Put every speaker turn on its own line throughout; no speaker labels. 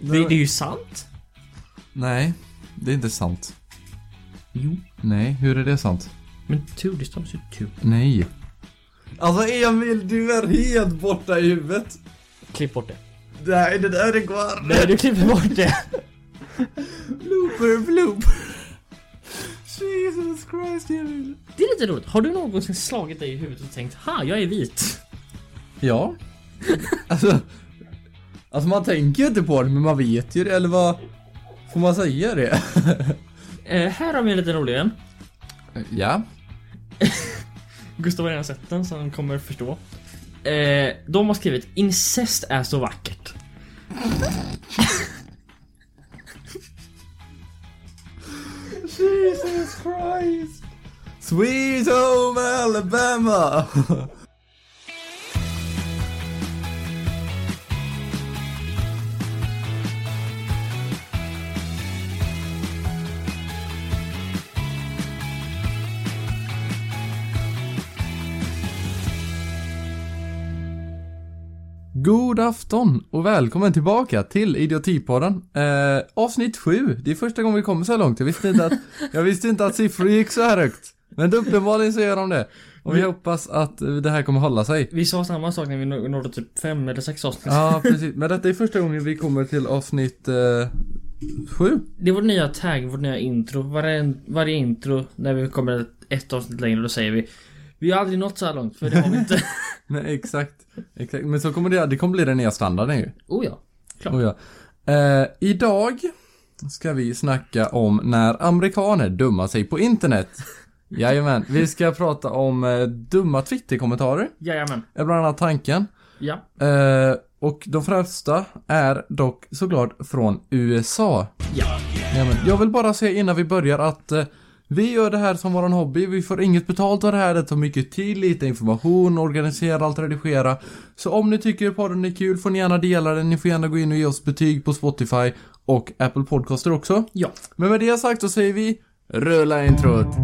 Det, det är ju sant.
Nej, det är inte sant.
Jo.
Nej, hur är det sant?
Men tur, det stavas ju tur.
Nej.
Alltså Emil, du är helt borta i huvudet.
Klipp bort det.
Nej, det där det går.
Nej, du klipper bort det.
Blooper, blooper. Jesus Christ, Emil.
Det är lite roligt. Har du någonsin slagit dig i huvudet och tänkt ha, jag är vit?
Ja. alltså, alltså man tänker ju inte på det, men man vet ju det, eller vad? Får man säga det?
Eh, här har vi en liten rolig en.
Ja.
Gustav har redan sett den så han kommer förstå. Eh, de har skrivit incest är så vackert.
Jesus Christ. Sweet home Alabama.
God afton och välkommen tillbaka till Idiotipodden. Eh, avsnitt 7. Det är första gången vi kommer så här långt. Jag visste inte att, jag visste inte att siffror gick så här högt. Men uppenbarligen så gör de det. Och vi hoppas att eh, det här kommer hålla sig.
Vi sa samma sak när vi nå- nådde typ fem eller sex avsnitt.
Ja, precis. Men detta är första gången vi kommer till avsnitt eh, 7.
Det är vår nya tagg, vårt nya intro. Varje, varje intro när vi kommer ett avsnitt längre då säger vi Vi har aldrig nått så här långt för det har vi inte.
Nej, exakt. exakt. Men så kommer det, det kommer bli den nya standarden ju.
oh ja.
Oh, ja. eh, idag ska vi snacka om när amerikaner dummar sig på internet. Jajamän, vi ska prata om eh, dumma Twitter-kommentarer,
Jajamän.
är bland annat tanken.
Ja.
Eh, och de främsta är dock såklart från USA.
Ja.
Jajamän. Jag vill bara säga innan vi börjar att eh, vi gör det här som våran hobby, vi får inget betalt av det här, det tar mycket tid, lite information, organisera, allt redigera. Så om ni tycker podden är kul får ni gärna dela den, ni får gärna gå in och ge oss betyg på Spotify och Apple Podcaster också.
Ja.
Men med det sagt så säger vi Rulla introt!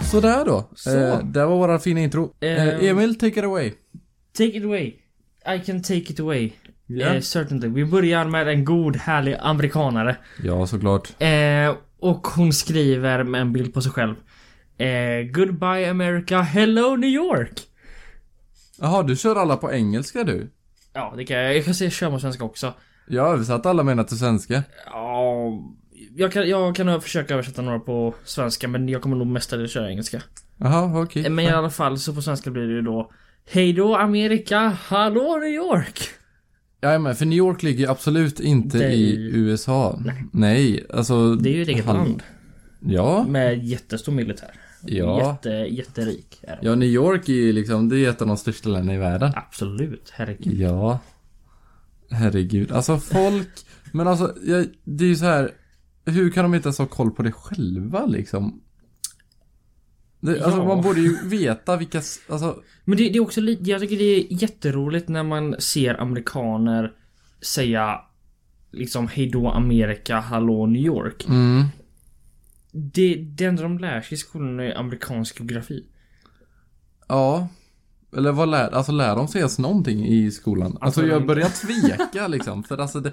Sådär då.
Så.
Eh, där var våra fina intro.
Ehm.
Eh, Emil, take it away.
Take it away. I can take it away.
Ja.
Eh, certainly. Vi börjar med en god härlig amerikanare.
Ja, såklart.
Eh, och hon skriver med en bild på sig själv. Eh, Goodbye America, hello New York.
Jaha, du kör alla på engelska du?
Ja, det kan jag. Jag kan säga köra på svenska också.
Jag har översatt alla mina till svenska.
Ja, jag kan, jag kan försöka översätta några på svenska men jag kommer nog mestadels köra engelska. Eh,
Jaha, okej.
Men i alla fall så på svenska blir det ju då Hej då Amerika, hallå New York!
Ja, men för New York ligger ju absolut inte
Det-
i USA. Nej. Nej, alltså...
Det är ju ett eget
han-
land
Ja.
med jättestor militär.
Ja.
Jätte, jätterik är den.
Ja, New York är ju liksom, det är ett av de största länderna i världen.
Absolut, herregud.
Ja. Herregud, alltså folk... Men alltså, jag, det är ju så här... Hur kan de inte ens ha koll på det själva liksom? Det, alltså
Ja.
man borde ju veta vilka, s- alltså...
Men det, det är också lite, jag tycker det är jätteroligt när man ser amerikaner säga liksom hej då Amerika, hallå New York.
Mm.
Det, det enda de lär sig i skolan är amerikansk geografi.
Ja. Eller vad lär, alltså lär de sig ens någonting i skolan? Alltså
Antagligen
jag börjar tveka liksom, för alltså det,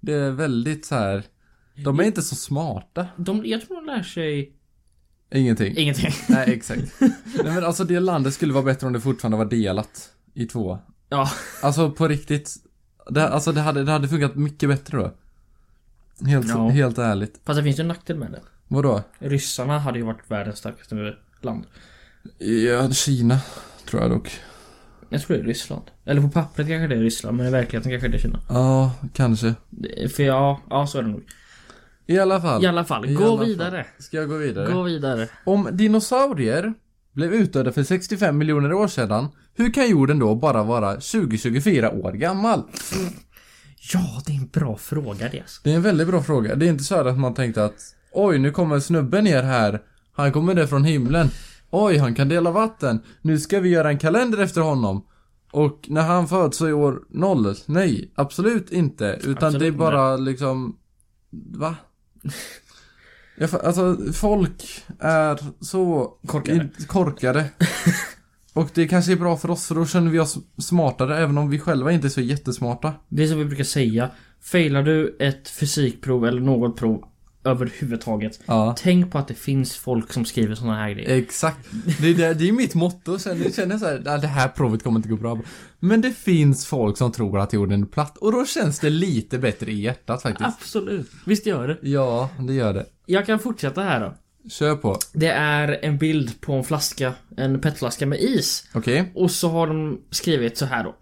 det är väldigt så här. De är inte så smarta.
De, jag tror de lär sig
Ingenting.
ingenting.
Nej, exakt. Nej men alltså det landet skulle vara bättre om det fortfarande var delat i två.
Ja,
Alltså på riktigt. Det, alltså det hade, det hade funkat mycket bättre då. Helt,
Ja.
helt ärligt.
fast det finns ju en nackdel med det.
Vadå?
Ryssarna hade ju varit världens starkaste land.
Ja, Kina, tror jag dock.
Jag tror det är Ryssland. Eller på pappret kanske det är Ryssland, men i verkligheten kanske det är Kina.
Ja, kanske.
Det- För ja, ja så är det nog.
I alla fall.
I alla fall,
I
gå
alla fall.
vidare.
Ska jag gå vidare?
Gå vidare.
Om dinosaurier blev utdöda för 65 miljoner år sedan, hur kan jorden då bara vara 20-24 år gammal?
Ja, det är en bra fråga det alltså.
Det är en väldigt bra fråga. Det är inte så här att man tänkte att oj, nu kommer snubben ner här. Han kommer ner från himlen. Oj, han kan dela vatten. Nu ska vi göra en kalender efter honom. Och när han föds så är år noll. Nej, absolut inte. Utan
Absolut
det är
inte.
bara liksom... Va? Jag, fa- alltså, folk är så
Korkade.
in- korkade. Och det kanske är bra för oss, för då känner vi oss smartare, även om vi själva inte är så jättesmarta.
Det är som vi brukar säga. Failar du ett fysikprov eller något prov överhuvudtaget.
Ja.
Tänk på att det finns folk som skriver såna här grejer.
Exakt. Det är, det, det är mitt motto. Sen jag känner jag så här, "Nej, det här provet kommer inte gå bra. Men det finns folk som tror att jorden är platt. Och då känns det lite bättre i hjärtat faktiskt.
Absolut. Visst gör det.
Ja, det gör det.
Jag kan fortsätta här då.
Kör på.
Det är en bild på en flaska, en petflaska med is.
Okej.
Och så har de skrivit så här då.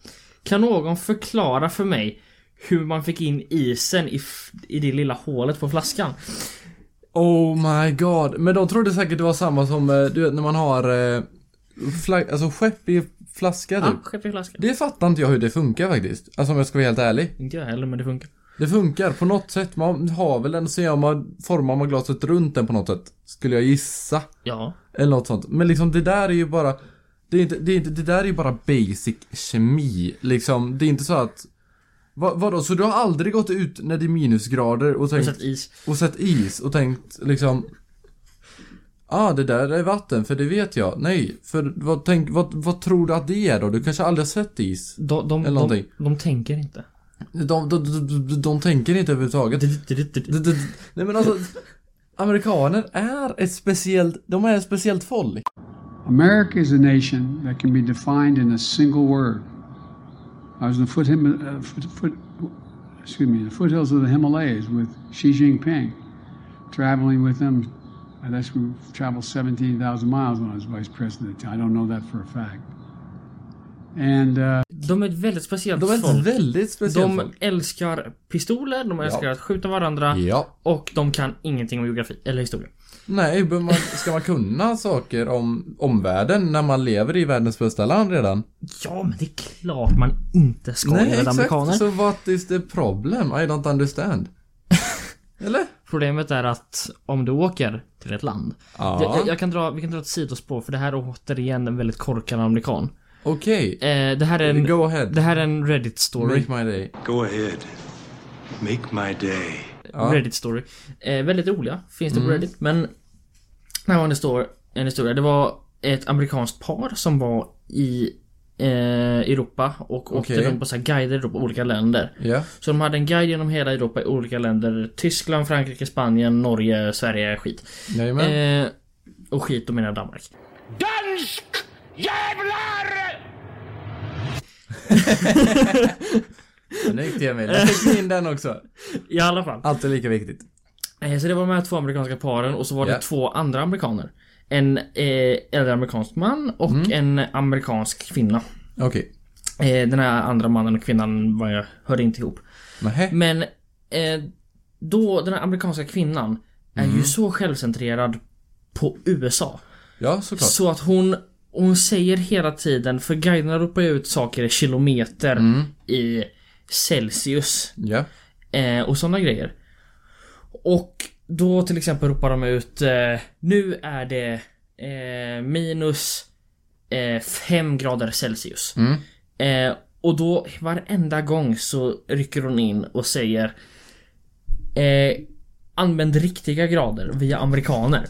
Kan någon förklara för mig hur man fick in isen i, f- i det lilla hålet på flaskan?
Oh my god. Men de trodde säkert det var samma som, eh, du vet när man har eh, flagg, alltså skepp i flaska
Ja,
typ.
ah, skepp i flaskan.
Det fattar inte jag hur det funkar faktiskt. Alltså om jag ska vara helt ärlig.
Inte jag heller men det funkar.
Det funkar på något sätt. Man har väl den, så gör man, formar man glaset runt den på något sätt. Skulle jag gissa.
Ja.
Eller något sånt. Men liksom det där är ju bara Det, är inte, det, är inte, det där är ju bara basic kemi. Liksom, det är inte så att vad, vadå, så du har aldrig gått ut när det är minusgrader och
Och
tänkt
satt is.
och sett is och tänkt liksom Ah, det där är vatten, för det vet jag. Nej, för vad, tänk, vad, vad tror du att det är då? Du kanske aldrig har sett is?
De, de,
Eller
de,
någonting.
de tänker inte.
De, de, de, de, de tänker inte överhuvudtaget. D- d- d- Nej men alltså, amerikaner är ett speciellt, de är ett speciellt folk.
America is a nation that can be defined in a single word. I was in the foot, uh, foot, foot, excuse me, the foothills of the Himalayas with Xi Jinping, traveling with him. I guess we traveled 17,000 miles when I was vice president. I don't know that for a fact. And uh,
De är ett väldigt speciellt
De är ett
folk.
väldigt speciellt folk.
De älskar pistoler, de älskar att skjuta varandra
Ja.
och de kan ingenting om geografi eller historia.
Nej, bör man, ska man kunna saker om omvärlden när man lever i världens bästa land redan?
Ja, men det är klart man inte ska
Nej,
göra
exakt.
amerikaner.
Så what is the problem? I don't understand. Eller?
Problemet är att om du åker till ett land
Ja.
Jag- Jag, jag kan dra, vi kan dra ett sidospår för det här är återigen en väldigt korkad amerikan.
Okej.
Eh, det här är en,
Go ahead.
det här är en Reddit story.
Make my day.
Go ahead. Make my day.
Reddit story. Eh, väldigt roliga, finns det på
Mm.
Reddit. Men här var en, histor- en historia. Det var ett amerikanskt par som var i eh, Europa och åkte
Okej.
runt på så här guider då på olika länder.
Ja.
Så de hade en guide genom hela Europa i olika länder. Tyskland, Frankrike, Spanien, Norge, Sverige, skit.
Jajamän.
Eh, och skit, då menar jag Danmark.
Dansk jävlar!
Snyggt Emil. Jag fick in den också.
I alla fall.
Alltid lika viktigt.
Eh, Så det var de här två amerikanska paren och så var det
Ja.
två andra amerikaner. En eh, äldre amerikansk man och
Mm.
en amerikansk kvinna.
Okej.
Eh, den här andra mannen och kvinnan var jag, hörde inte ihop.
Nähä.
Men eh, då, den här amerikanska kvinnan är ju så självcentrerad på USA.
Ja, såklart.
Så att hon, hon säger hela tiden, för guiderna ropar ju ut saker i kilometer i Celsius.
Ja.
Eh, och sådana grejer. Och då till exempel ropar de ut eh, Nu är det eh, minus 5 grader Celsius.
Mm.
Eh, och då varenda gång så rycker hon in och säger eh, Använd riktiga grader, vi är amerikaner.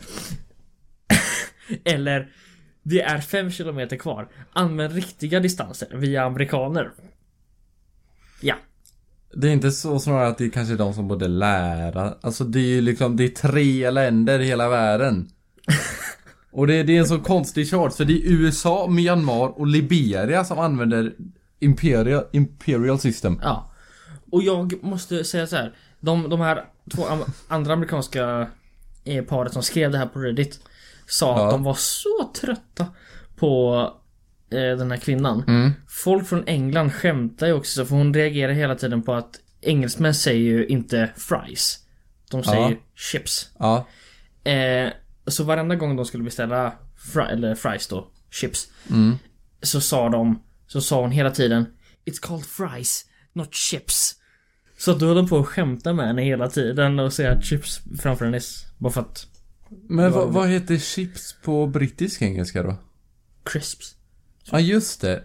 Eller Det är 5 kilometer kvar. Använd riktiga distanser, vi är amerikaner. Ja.
Det är inte så snarare att det kanske är de som borde lära. Alltså det är ju liksom, det är tre länder i hela världen. Och det, det är en så konstig chart, för det är USA, Myanmar och Liberia som använder Imperial, imperial system.
Ja. Och jag måste säga så här. De, de här två am- andra amerikanska eh, paret som skrev det här på Reddit sa
Ja.
att de var så trötta på eh, den här kvinnan.
Mm.
Folk från England skämtar ju också för hon reagerar hela tiden på att engelsmän säger ju inte fries. De säger
Ja.
chips.
Ja.
Eh, så varenda gång de skulle beställa fri, eller fries då, chips.
Mm.
Så sa de, så sa hon hela tiden It's called fries, not chips. Så att då höll de på att skämta med henne hela tiden och säga chips framför hennes. Bara för att
Men vad, vad heter chips på brittisk engelska då?
crisps.
Ja, just det.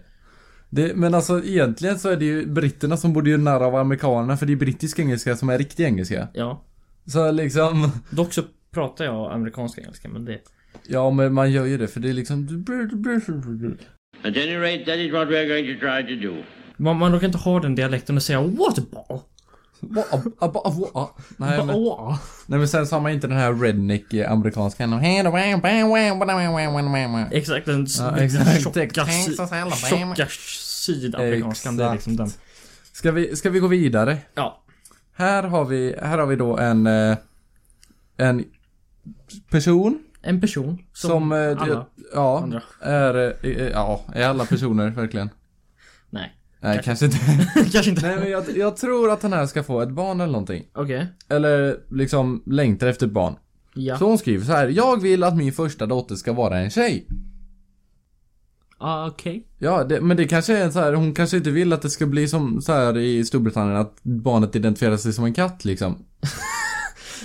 Det, men alltså egentligen så är det ju britterna som borde göra narr av amerikanerna för det är brittisk engelska som är riktig engelska.
Ja.
Så liksom,
Dock så pratar jag amerikanska engelska men det...
ja men man gör ju det för det är liksom...
At any rate, that is what we are going to try to do.
Man, man råkar inte ha den dialekten och säga what ball?
Ba- a- ba- a- wa- a. Nej men,
Ba-
nej men sen så har man inte den här redneck eh, amerikanskan.
Exakt, den s-
Ja, exakt.
tjocka, sy-
Texas, Alabama.
tjocka sydafrikanskan. Det är liksom den.
Ska vi, ska vi gå vidare?
Ja.
Här har vi, här har vi då en... eh, En person
En person som,
som... eh, det-
alla
ja,
andra.
är... eh, eh, Ja, är alla personer verkligen?
Nej.
Nej, kanske inte.
Kanske inte.
Nej men jag, jag tror att den här ska få ett barn eller någonting.
Okej.
Eller liksom längtar efter ett barn.
Ja.
Så hon skriver så här. Jag vill att min första dotter ska vara en tjej.
Ah, Okej.
Ja, det, men det kanske är en så här, hon kanske inte vill att det ska bli som så här i Storbritannien att barnet identifierar sig som en katt liksom.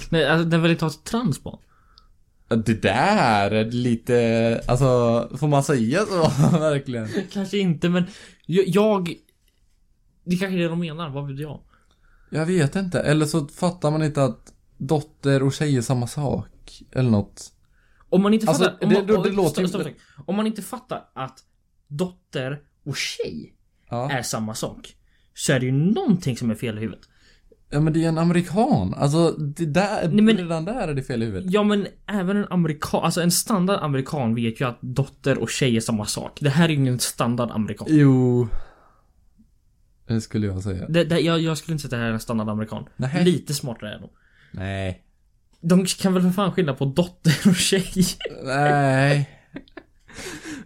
Nej, alltså, den vill inte ha ett transbarn.
Det där är lite, alltså, får man säga så? Verkligen.
Kanske inte men jag... jag det kanske är det de menar, vad vet jag?
Jag vet inte, eller så fattar man inte att dotter och tjej är samma sak. Eller något.
Om man inte
Alltså,
fattar... om
det-
man,
det- det
oj,
låter
stopp,
ju-
stopp, stopp. Om man inte fattar att dotter och tjej
Ja.
är samma sak. Så är det ju någonting som är fel i huvudet.
ja, men det är en amerikan. Alltså, det där,
Nej, men-
redan där är det fel i huvudet.
Ja men även en amerikan, alltså en standard amerikan vet ju att dotter och tjej är samma sak. Det här är ju ingen standard amerikan.
Jo. Det skulle jag säga.
Det, det, jag, jag skulle inte säga att det här är en standard amerikan.
Nähä.
Lite smartare är de.
Nej.
De kan väl för fan skilja på dotter och tjej?
Nej.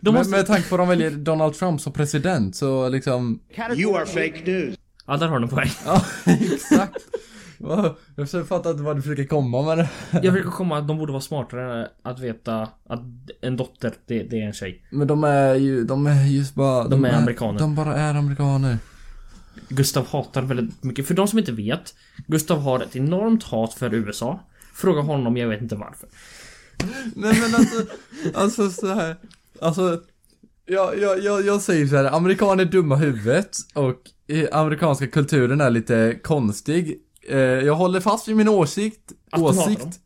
De
Men
måste...
med tanke på att de väljer Donald Trump som president så liksom...
You are fake news.
Ja där har de poäng.
Ja, exakt. Wow, Jag försöker fatta inte vad du försöker komma med det.
Jag försöker komma att de borde vara smartare att veta att en dotter, det, det är en tjej.
Men de är ju, de är just bara... De,
är amerikaner.
De bara är amerikaner.
Gustav hatar väldigt mycket. För de som inte vet, Gustav har ett enormt hat för USA. Fråga honom, jag vet inte varför.
Mm, Nej men alltså, alltså så här. Alltså, jag, jag, jag, jag säger så här, amerikaner är dumma i huvudet och eh, amerikanska kulturen är lite konstig. Eh, jag håller fast vid min åsikt.
Att du hatar dem.
åsikt.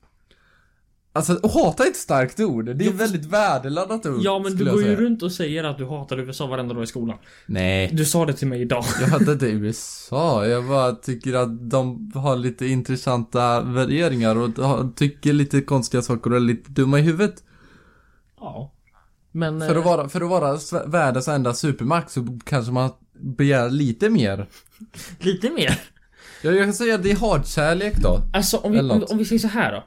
Alltså, och hata är ett starkt ord. Det är
Jo,
ett väldigt värdeladdat ord,
Ja men du
skulle jag
går ju
säga.
runt och säger att du hatar USA varenda dag i skolan.
Nej.
Du sa det till mig idag.
Jag hade inte USA, jag bara tycker att de har lite intressanta värderingar och har- tycker lite konstiga saker och är lite dumma i huvudet.
Ja. Men...
För att
eh,
vara, för att vara sve- världens enda supermakt så kanske man begär lite mer.
eh, Lite mer.
Jag, jag kan säga att det är hatkärlek då.
Alltså om vi,
Eller
om,
något.
om vi säger så här då.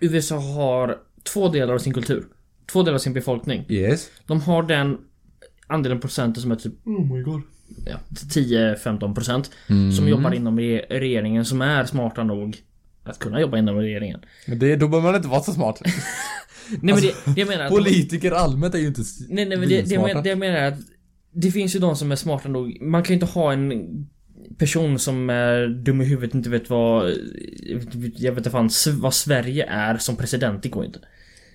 USA har två delar av sin kultur. Två delar av sin befolkning.
Yes.
De har den andelen procenten som är typ
Oh my god.
ja, 10-15 procent.
Mm.
Som jobbar inom re- regeringen som är smarta nog att kunna jobba inom regeringen.
Det, då behöver man inte vara så smart.
Nej men det,
Alltså,
det jag menar... att-
Politiker allmänt är ju inte s-
Nej, nej men det, det, jag
smarta.
men, det jag menar är att det finns ju de som är smarta nog. Man kan ju inte ha en person som är dum i huvudet inte vet vad... Jag vet inte fan s- vad Sverige är som president. Det går inte.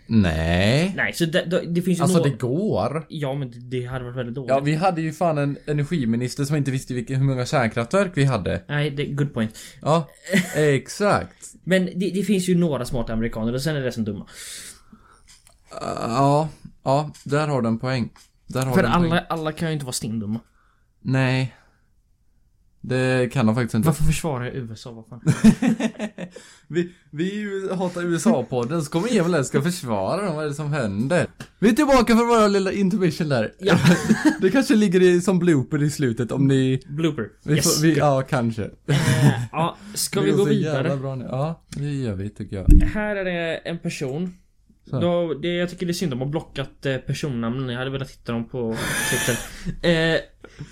Nej.
Nej, så det, det, det finns ju
Alltså
nå-
det går.
Ja men det, det hade varit väldigt dåligt.
Ja, vi hade ju fan en energiminister som inte visste vilka, hur många kärnkraftverk vi hade.
Nej, det är good point.
Ja, exakt.
Men det, det finns ju några smarta amerikaner och sen är det som dumma.
Ja, ja, där har du en poäng. Där har
För
du en
alla,
poäng.
alla kan ju inte vara stendumma.
Nej. Det kan de faktiskt inte.
Varför försvarar jag USA? Vad fan?
Vi, vi ju hatar USA-podden, så kommer Emil här och ska försvara dem, vad är det som händer? Vi är tillbaka för våra lilla intermission där.
Ja.
Det kanske ligger i, som blooper i slutet om ni...
Blooper.
Vi
yes.
får, vi, ja, kanske.
ja, ska
Det
vi
går
gå
så
vidare?
jävla Bra nu. Ja, det gör vi tycker jag.
Här är det en person.
Så.
Då, det, jag tycker det är synd, de har blockat eh, personnamnen. Jag hade velat hitta dem på Twitter. eh,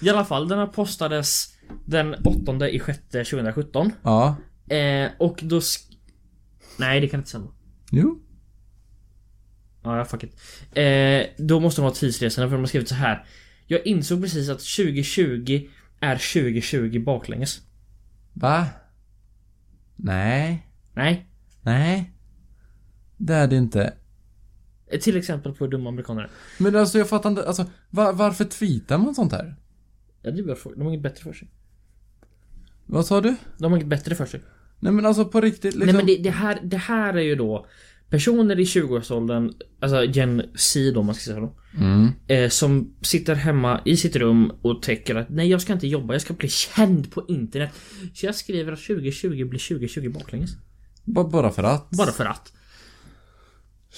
I alla fall, den här postades den 8 i sjätte 2017.
Ja.
Eh, och då... Sk- Nej, det kan inte stämma.
Jo.
Ja, ja, fuck it. Eh, då måste de ha tidsresorna för de har skrivit så här. Jag insåg precis att 2020 är 2020 baklänges.
Va? Nej.
Nej.
Nej. Det är det inte.
Eh, Till exempel på dumma amerikaner.
Men alltså jag fattar inte, alltså va- varför tweetar man sånt här?
Ja, det är bra fråga. De har inget bättre för sig.
Vad sa du?
De har inget bättre för sig.
Nej men alltså på riktigt liksom.
Nej men det, det, här, det här är ju då personer i 20-årsåldern, alltså gen C då om man ska säga så. Eh, som sitter hemma i sitt rum och tänker att nej jag ska inte jobba, jag ska bli känd på internet. Så jag skriver att 2020 blir 2020 baklänges.
Ba- bara för att.
Bara för att.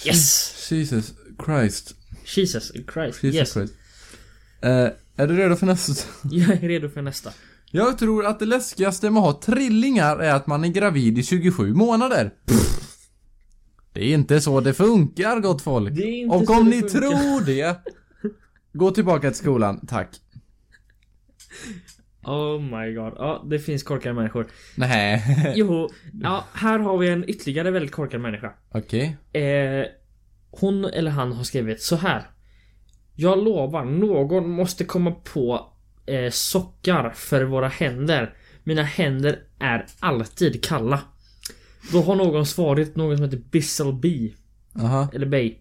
Yes!
Jesus Christ.
Jesus Christ.
Jesus
yes.
Christ. Eh, är du redo för nästa?
Jag är redo för nästa.
Jag tror att det läskigaste med att ha trillingar är att man är gravid i 27 månader. Pff. Det är inte så det funkar gott folk.
Det är inte
Och
så
om
det
ni
funkar.
tror det. Gå tillbaka till skolan, tack.
Oh my god. Ja, det finns korkade människor.
Nej.
Jo, ja, här har vi en ytterligare väldigt korkad människa.
Okej.
Eh, hon eller han har skrivit så här. Jag lovar, någon måste komma på eh, sockar för våra händer. Mina händer är alltid kalla. Då har någon svarat någon som heter Bissel B.
Aha.
Eller Bay.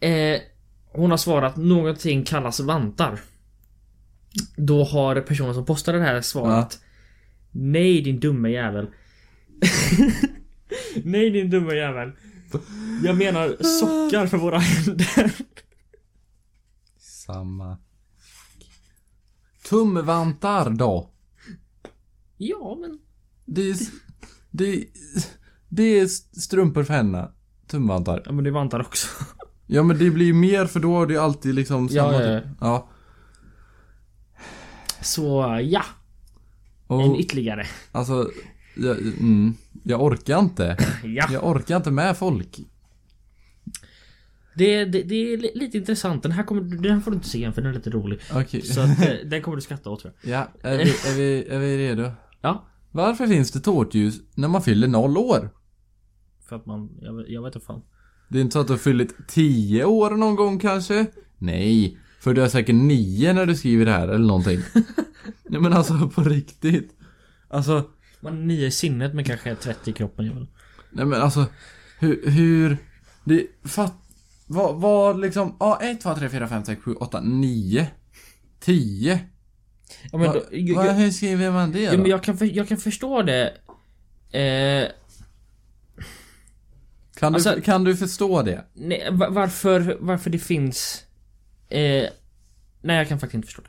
Eh, hon har svarat någonting kallas vantar. Då har personen som postade det här svarat Nej din dumme jävel. Nej din dumme jävel. Jag menar sockar för våra händer.
Samma. Tumvantar då.
ja men.
Det är... Det är, det är strumpor för henne. Tumvantar.
Ja men det är vantar också.
Ja men det blir ju mer för då har du ju alltid liksom
Ja,
samma
ja,
typ. ja.
Så ja. En
Och,
ytterligare.
alltså, jag, mm, jag orkar inte.
Ja.
Jag orkar inte med folk.
Det, det, det är li- lite intressant. Den här, kommer, du- den här får du inte se igen för den är lite rolig.
Okej.
Så att, eh, den kommer du skratta åt tror jag.
Ja, är vi, är, vi, är vi redo?
Ja.
Varför finns det tårtljus när man fyller noll år?
För att man, jag, vet- jag vet inte fan.
Det är inte så att du har fyllt 10 år någon gång kanske? Nej, för du är säkert 9 när du skriver det här eller någonting. Nej men alltså på riktigt. Alltså,
Man är nio i sinnet men kanske är 30 i kroppen. jag vet inte.
nej men alltså hur, hur det fatt vad, vad liksom, ja 1, 2, 3, 4, 5, 6, 7, 8, 9, 10.
Ja, men
Va-
då, ju-
va-
ju-
hur skriver man det
ja,
då?
men jag, kan för, jag kan förstå det. Eh,
kan, du,
alltså-
kan du förstå det?
nej, va- varför, varför det finns... Eh, nej, jag kan faktiskt inte förstå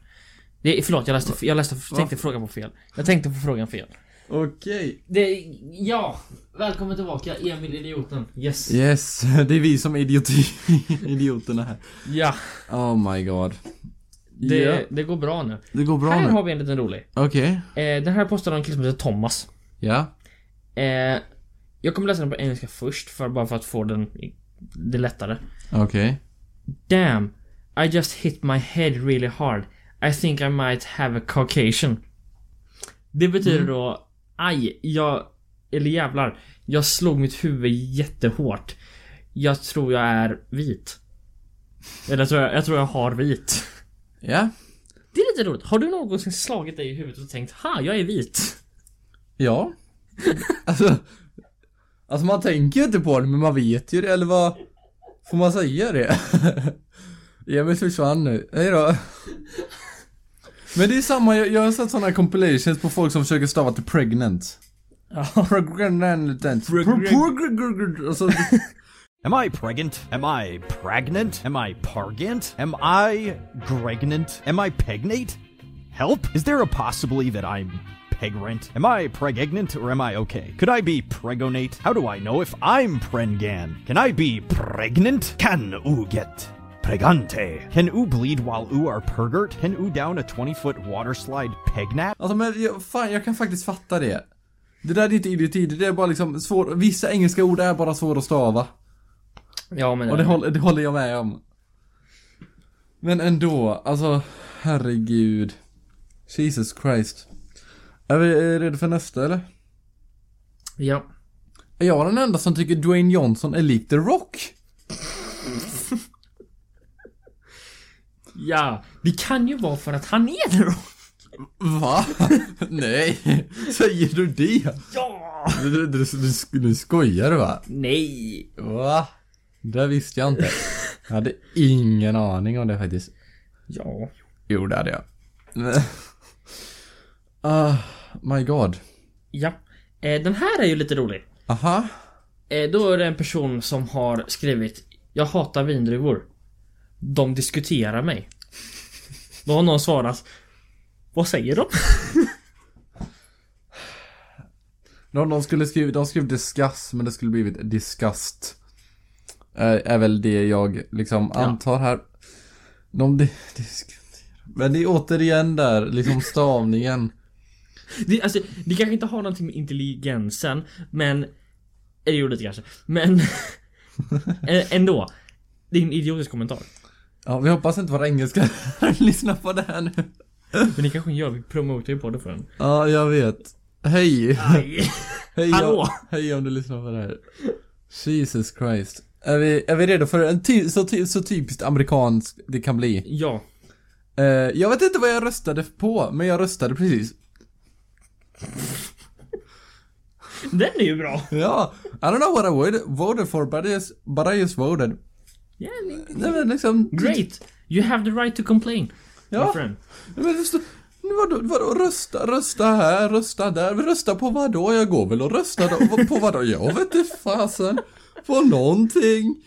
det. det förlåt, jag, läste, jag läste, tänkte frågan på fel. Jag tänkte på frågan fel.
Okej.
Det, ja, välkommen tillbaka Emil Idioten. Yes.
Yes, det är vi som idioti, idioterna här.
Ja,
Oh my god.
det,
Ja,
det går bra nu.
det går bra
här
nu.
har vi en liten rolig.
Okej.
Eh, den här postade en kille som heter Thomas.
Ja.
Eh, jag kommer läsa den på engelska först, för, bara för att få den i- det lättare.
Okej.
Damn, I just hit my head really hard. I think I might have a Caucasian. Det betyder då, aj, jag, eller jävlar, jag slog mitt huvud jättehårt. Jag tror jag är vit. Eller jag tror jag, jag tror jag har vit.
Ja.
Det är lite roligt. Har du någonsin slagit dig i huvudet och tänkt, ha, jag är vit?
Ja.
Alltså, alltså man tänker ju inte på det men man vet ju det eller vad... Får man säga det? Emil försvann nu, hejdå. Men det är samma, jag, jag har sett sådana compilations på folk som försöker stava till pregnant. Pregnant. Pregnant. Alltså,
Am I pregnant? Am I pregnant? Am I pargant? Am I gregnant? Am I pegnate? Help? Is there a possibility that I'm pegrant? Am I pregnant or am I okay? Could I be pregonate? How do I know if I'm prengan? Can I be pregnant? Can oo get pregante? Can oo bleed while oo are pergert? Can oo down a 20 foot water slide pegnat?
Alltså men jag, fan, jag kan faktiskt fatta det. Det där är inte idioti, det där är bara liksom svår, vissa engelska ord är bara svåra att stava.
Ja men
Och det håller, det håller jag med om. Men ändå, alltså herregud. Jesus Christ. Är vi eh, redo för nästa eller?
Ja.
Är jag den enda som tycker Dwayne Johnson är lik The Rock?
Ja, det kan ju vara för att han är det då.
Va? Nej, säger du det?
Ja!
Du, du, du, du, du skojar va?
Nej.
Va? Det visste jag inte. Jag hade ingen aning om det faktiskt.
Ja.
Jo, det hade jag. Ah, my god.
Ja. Eh, den här är ju lite rolig.
Aha.
Eh, Då är det en person som har skrivit Jag hatar vindruvor. De diskuterar mig. Då har någon svarat Vad säger de?
De, de skulle skriva, de skrev discuss, men det skulle blivit disgust. Eh, är väl det jag liksom antar här. De di- diskuterar. Men det är återigen där, liksom stavningen.
Det, alltså, det kanske inte har någonting med intelligensen men Eller jo lite kanske men Ä- Ändå Det är en idiotisk kommentar
Ja, vi hoppas inte våra engelska lyssnar på det här nu.
Men det kanske hon gör, vi promotar ju podden för den
Ja, jag vet. Hej!
Aj.
Hej,
Hallå!
om- hej om du lyssnar på det här. Jesus Christ. Är vi, är vi redo för en ty, så, ty, så typiskt amerikansk det kan bli?
Ja
Eh, jag vet inte vad jag röstade på, men jag röstade precis.
Den är ju bra!
Ja, I don't know what I would, voted for, but I just, but I just voted.
Yeah,
Nej men liksom...
great! You have the right to complain
Ja.
my friend.
Nej, Men förstå, vadå, vadå, rösta, rösta här, rösta där, men rösta på vad då? Jag går väl och röstar då, på vad då? Jag vet inte fasen. På någonting.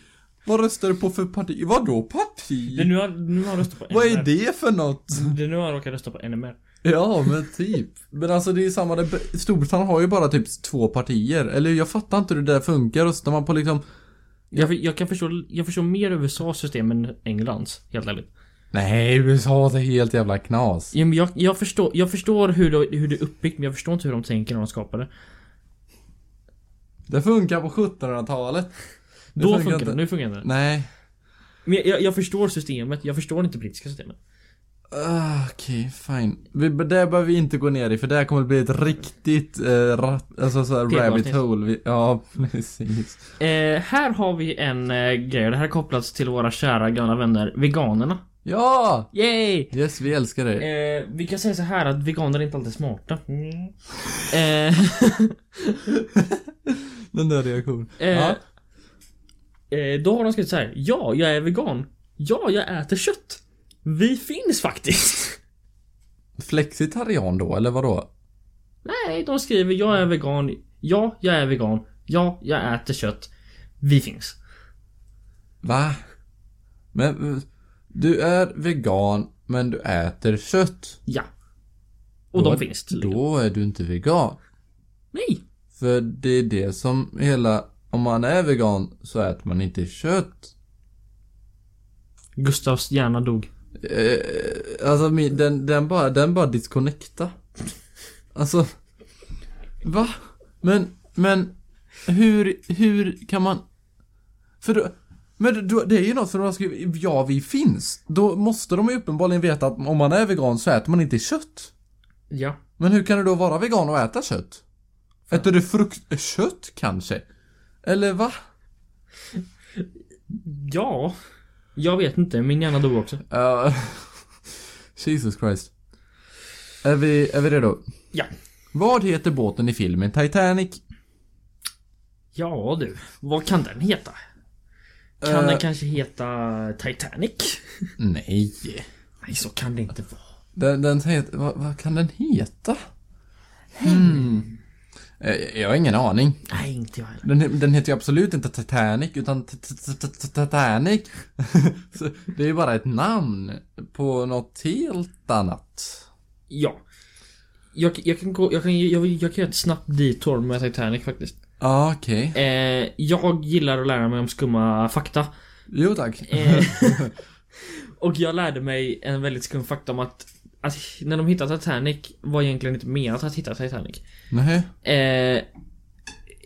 Vad röstar du på för parti? Vadå parti?
Det, nu, har, nu har jag röstat på NMR
Vad är det för något?
Det, nu har jag råkat rösta på NMR
Ja, men typ. Men alltså det är ju samma, där- Storbritannien har ju bara typ två partier. Eller jag fattar inte hur det där funkar. Röstar man på liksom...
Jag, jag kan förstå, jag förstår mer USAs system än Englands, helt ärligt.
Nej, USA är helt jävla knas.
Ja, men Jag, jag, förstår, jag förstår hur det, hur det är uppbyggt, men jag förstår inte hur de tänker när de skapar det.
Det funkar på 1700-talet.
Då
funkar
funkar,
inte.
det, nu funkar det.
Nej.
Men jag- jag, jag förstår systemet, jag förstår inte brittiska systemet.
Ah, Okej, fine. Vi, det behöver vi inte gå ner i för det här kommer bli ett riktigt eh, rat, alltså så här rabbit
Tematiskt.
hole. Vi, ja, precis.
Eh, här har vi en eh, grej, och det här är kopplat till våra kära gamla vänner veganerna.
Ja!
Yay!
Yes, vi älskar dig.
Eh, vi kan säga så här att veganer är inte alltid smarta. Mm. Eh,
Den där reaktionen.
eh,
Ja.
eh, då har de skrivit så här. Ja, jag är vegan. Ja, jag äter kött. Vi finns faktiskt.
Flexitarian då, eller vadå?
Nej, de skriver jag är vegan. Ja, jag är vegan. Ja, jag äter kött. Vi finns.
Va? Men, eh, du är vegan, men du äter kött.
Ja. Och
Då-
de finns tydligen.
Då är du inte vegan.
Nej.
För det är det som hela, om man är vegan så äter man inte kött.
Gustavs hjärna dog.
Eh, Alltså min- den, den bara, den bara disconnecta. Alltså. Va? Men, men. Hur, hur kan man? För då, men då, det är ju något för de har skrivit, ja vi finns. Då måste de ju uppenbarligen veta att om man är vegan så äter man inte kött.
Ja.
Men hur kan du då vara vegan och äta kött? Äter du fruktkött kanske? Eller va?
Ja. Jag vet inte, min hjärna dog också.
Ja. Jesus Christ. Är vi, är vi redo?
Ja.
Vad heter båten i filmen Titanic?
Ja du. Vad kan den heta? Kan
Eh.
den kanske heta Titanic?
Nej.
Nej, så kan det inte vara.
Den, den heter, vad, vad kan den heta? Hmm. Eh, Jag har ingen aning.
Nej, inte jag heller.
Den, den heter ju absolut inte Titanic utan t- t- t- t- Titanic. Så det är ju bara ett namn på något helt annat.
Ja. Jag, jag kan gå, jag kan, jag, jag kan göra ett snabbt detour med Titanic faktiskt.
Ja, Ah, okej.
Eh, jag gillar att lära mig om skumma fakta.
Jo tack.
Eh, och jag lärde mig en väldigt skum fakta om att, att när de hittade Titanic var egentligen inte menat att hitta Titanic.
Nej.
Eh,